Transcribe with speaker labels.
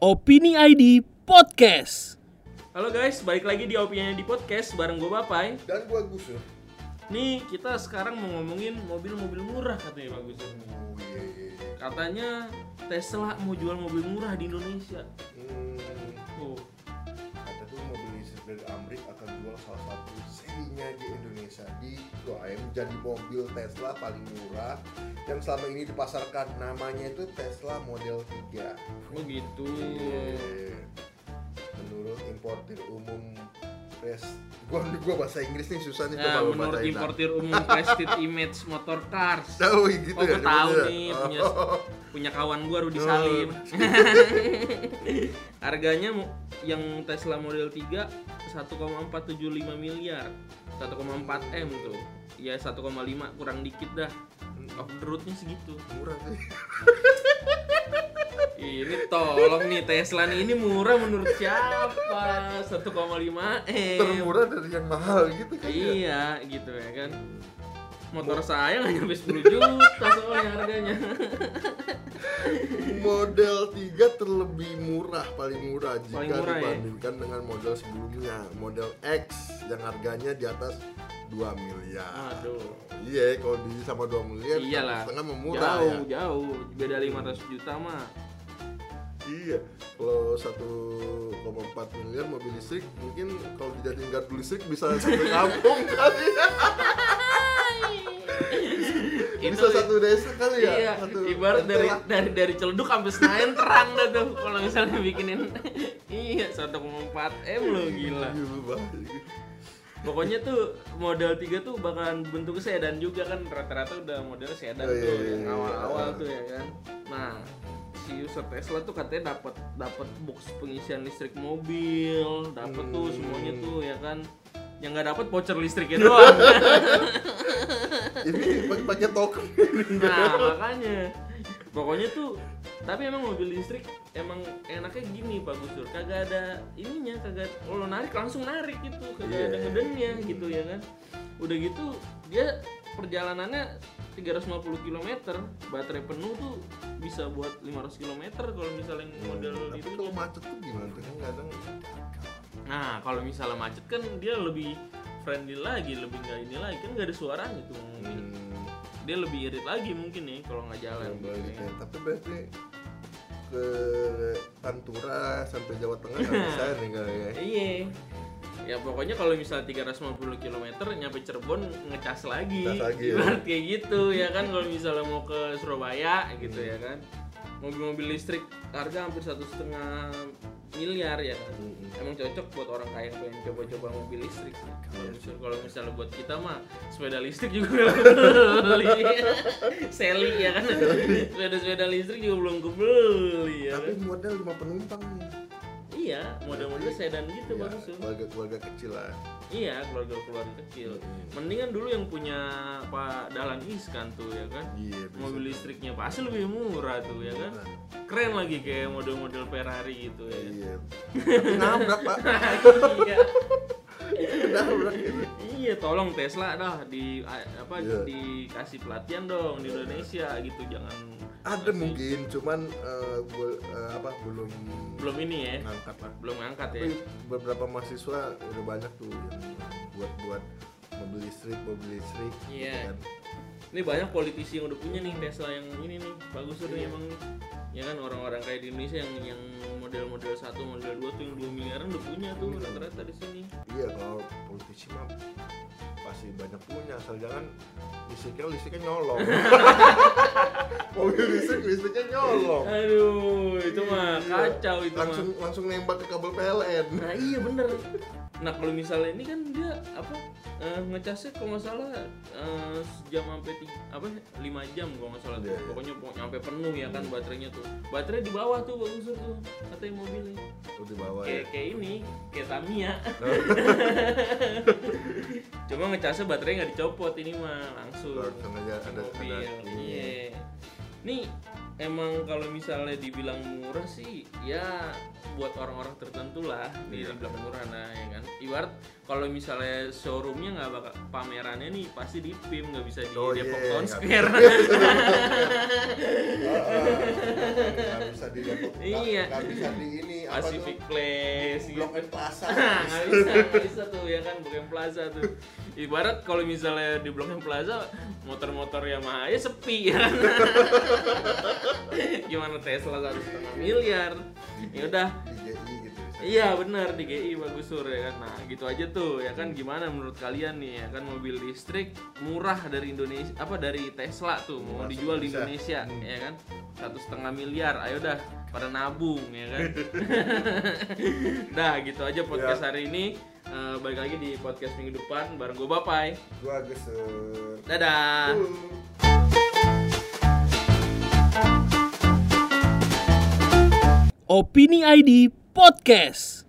Speaker 1: Opini ID Podcast.
Speaker 2: Halo guys, balik lagi di Opini di Podcast bareng gue Bapai.
Speaker 3: dan gua Gus ya.
Speaker 2: Nih, kita sekarang mau ngomongin mobil-mobil murah katanya Pak Gus.
Speaker 3: Oh, iya, iya, iya.
Speaker 2: Katanya Tesla mau jual mobil murah di Indonesia.
Speaker 3: Hmm,
Speaker 2: Oh,
Speaker 3: ada tuh mobil listrik dari Amrik akan jual salah satu serinya di Indonesia di Prime jadi mobil Tesla paling murah yang selama ini dipasarkan namanya itu Tesla Model 3
Speaker 2: begitu.
Speaker 3: Iya. menurut importir umum Pres gua gua bahasa Inggris nih susah nih
Speaker 2: Nah,
Speaker 3: coba
Speaker 2: menurut
Speaker 3: bacain.
Speaker 2: importir umum Prestige Image Motor Cars.
Speaker 3: tahu gitu
Speaker 2: Oh, gue
Speaker 3: ya
Speaker 2: tahu
Speaker 3: nyebutnya.
Speaker 2: nih punya
Speaker 3: Oh.
Speaker 2: punya kawan gue Rudi Salim. Harganya mu- yang Tesla Model 3 1,475 miliar. 1,4 M tuh. Ya 1,5 kurang dikit dah. Off the road-nya segitu.
Speaker 3: murah sih
Speaker 2: Ini tolong nih Tesla nih ini murah menurut siapa? 1,5 M.
Speaker 3: termurah dari yang mahal gitu kan ya
Speaker 2: Iya, gitu ya kan. Motor saya nggak nyampe 10 juta soalnya harganya.
Speaker 3: Model 3 terlebih murah paling murah jika
Speaker 2: Paling murah, ya?
Speaker 3: dibandingkan dengan model sebelumnya, model X yang harganya di atas 2 miliar.
Speaker 2: Aduh.
Speaker 3: Iya, kalau di sama 2 miliar
Speaker 2: Iyalah.
Speaker 3: setengah memurah ya.
Speaker 2: jauh, jauh. Beda 500 juta mah.
Speaker 3: Iya. Kalau 1,4 miliar mobil listrik mungkin kalau dijadiin gardu listrik bisa satu kampung kali ya. bisa satu desa kali ya.
Speaker 2: Iya,
Speaker 3: satu
Speaker 2: ibarat dari
Speaker 3: RT lah.
Speaker 2: dari dari Celduk sampai Senayan terang dah tuh kalau misalnya bikinin. iya, 1,4 M lo gila.
Speaker 3: Gila, banget.
Speaker 2: Pokoknya tuh model 3 tuh bakalan bentuk sedan juga kan rata-rata udah model sedan
Speaker 3: Oh, iya,
Speaker 2: tuh
Speaker 3: iya,
Speaker 2: yang
Speaker 3: iya.
Speaker 2: awal-awal tuh ya kan. Nah, si user Tesla tuh katanya dapat dapat box pengisian listrik mobil, dapat tuh
Speaker 3: Hmm.
Speaker 2: semuanya tuh ya kan. Yang nggak dapat voucher listriknya doang.
Speaker 3: Ini pakai pakai token.
Speaker 2: nah, makanya. Pokoknya tuh tapi emang mobil listrik emang enaknya gini Pak Gusur kagak ada ininya kagak kalau narik langsung narik gitu kagak
Speaker 3: Iya.
Speaker 2: ada ngedennya gitu ya kan udah gitu dia perjalanannya 350 km baterai penuh tuh bisa buat 500 km kalau misalnya model
Speaker 3: Iya,
Speaker 2: gitu.
Speaker 3: Tapi
Speaker 2: itu
Speaker 3: kalau macet tuh gimana tuh kan kadang
Speaker 2: nah kalau misalnya macet kan dia lebih friendly lagi lebih nggak ini lagi kan nggak ada suaranya tuh
Speaker 3: hmm,
Speaker 2: dia lebih irit lagi mungkin nih kalau nggak jalan gitu
Speaker 3: balik
Speaker 2: ya.
Speaker 3: ya. Tapi berarti ke Pantura sampai Jawa Tengah nggak bisa nih kali ya.
Speaker 2: Iya. Ya pokoknya kalau misalnya 350 km nyampe Cirebon ngecas lagi.
Speaker 3: Ngecas lagi, ya.
Speaker 2: Ibarat kayak gitu ya kan kalau misalnya mau ke Surabaya gitu ya kan. Mobil-mobil listrik harga hampir satu setengah miliar ya kan.
Speaker 3: Mm-mm.
Speaker 2: Emang cocok buat orang kaya yang pengen coba-coba mobil listrik sih. Kalau misalnya, kalau misalnya buat kita mah sepeda listrik juga belum beli. Seli ya kan. Sepeda-sepeda listrik juga belum kebeli ya
Speaker 3: Tapi
Speaker 2: kan.
Speaker 3: modal lima penumpang nih.
Speaker 2: Iya, model-model sedan gitu
Speaker 3: Ya,
Speaker 2: bagus tuh.
Speaker 3: keluarga-keluarga kecil lah.
Speaker 2: Iya, keluarga-keluarga kecil.
Speaker 3: Mm-mm.
Speaker 2: Mendingan dulu yang punya Pak Dahlan Iskan tuh ya kan.
Speaker 3: Iya, bisa. Nah,
Speaker 2: Mobil listriknya pasti lebih murah tuh ya kan. Keren lagi kayak model-model Ferrari gitu ya. kan?
Speaker 3: Iya. Tapi nabrak pak.
Speaker 2: Iya.
Speaker 3: Nabrak gitu.
Speaker 2: Iya, tolong Tesla dah di a- apa
Speaker 3: Iya.
Speaker 2: dikasih pelatihan dong di Indonesia gitu jangan
Speaker 3: Ada mungkin, cuman eh, gua- eh, apa belum
Speaker 2: belum ini ya,
Speaker 3: ngangkat lah.
Speaker 2: belum ngangkat ya.
Speaker 3: Tapi beberapa mahasiswa udah banyak tuh yang buat buat mobil listrik, mobil listrik. gitu
Speaker 2: Iya.
Speaker 3: kan.
Speaker 2: Ini banyak politisi yang udah punya nih Tesla yang ini nih bagus tuh
Speaker 3: Iya.
Speaker 2: nih emang nih. Ya kan orang-orang kayak di Indonesia yang yang model-model satu, model dua tuh yang 2 miliaran udah punya tuh rata-rata di sini.
Speaker 3: Iya kalau politisi mah pasti banyak punya asal jangan listriknya listriknya nyolong. Mobil listrik listriknya nyolong.
Speaker 2: Aduh, itu mah
Speaker 3: Oh. Iya.
Speaker 2: kacau itu
Speaker 3: langsung
Speaker 2: mah.
Speaker 3: langsung nembak ke kabel PLN.
Speaker 2: Nah iya bener. Nah kalau misalnya ini kan dia apa eh, ngecasnya kalau nggak salah eh, sejam sampai tiga- apa lima jam kalau nggak salah tuh.
Speaker 3: Iya, iya.
Speaker 2: Pokoknya pokoknya sampai penuh ya kan baterainya tuh. Baterai di bawah tuh bagus tuh katanya mobilnya.
Speaker 3: Udah bawa ya.
Speaker 2: Kayak kayak ini kayak Tamiya.
Speaker 3: Nah.
Speaker 2: Cuma ngecasnya baterai nggak dicopot ini mah langsung.
Speaker 3: Langsung kan aja
Speaker 2: Di
Speaker 3: ada
Speaker 2: mobil.
Speaker 3: ada.
Speaker 2: Iya. Nih emang kalau misalnya dibilang murah sih ya buat orang-orang tertentu lah di
Speaker 3: Iya.
Speaker 2: dibilang murah nah ya kan. Ibarat kalau misalnya showroomnya nggak bakal pamerannya nih pasti di PIM nggak bisa di
Speaker 3: Oh,
Speaker 2: Depok
Speaker 3: iya,
Speaker 2: Town
Speaker 3: nggak
Speaker 2: Square.
Speaker 3: Ah, ah, nggak bisa bisa di Depok nggak-
Speaker 2: Iya.
Speaker 3: nggak bisa di ini apa
Speaker 2: Pacific
Speaker 3: tuh
Speaker 2: Place gitu.
Speaker 3: Blok M Plaza
Speaker 2: Nah, nggak bisa, nggak bisa tuh ya kan Blok M Plaza tuh. Ibarat kalau misalnya di Blok M Plaza motor-motor Yamaha ya sepi ya kan. Gimana Tesla satu setengah miliar. Ya udah.
Speaker 3: di JI gitu bisa.
Speaker 2: Iya benar di GI bagus sur ya kan. Nah gitu aja tuh ya kan gimana menurut kalian nih ya kan mobil listrik murah dari Indonesia apa dari Tesla tuh mau
Speaker 3: Murah
Speaker 2: dijual di
Speaker 3: bisa.
Speaker 2: Indonesia
Speaker 3: Hmm.
Speaker 2: ya kan satu setengah miliar ayo dah pada nabung ya kan. Dah gitu aja podcast
Speaker 3: Ya.
Speaker 2: hari ini Eh, balik lagi di podcast minggu depan bareng gue Bapai.
Speaker 3: gua geser
Speaker 2: Dadah.
Speaker 3: Uh.
Speaker 1: Opini ID Podcast.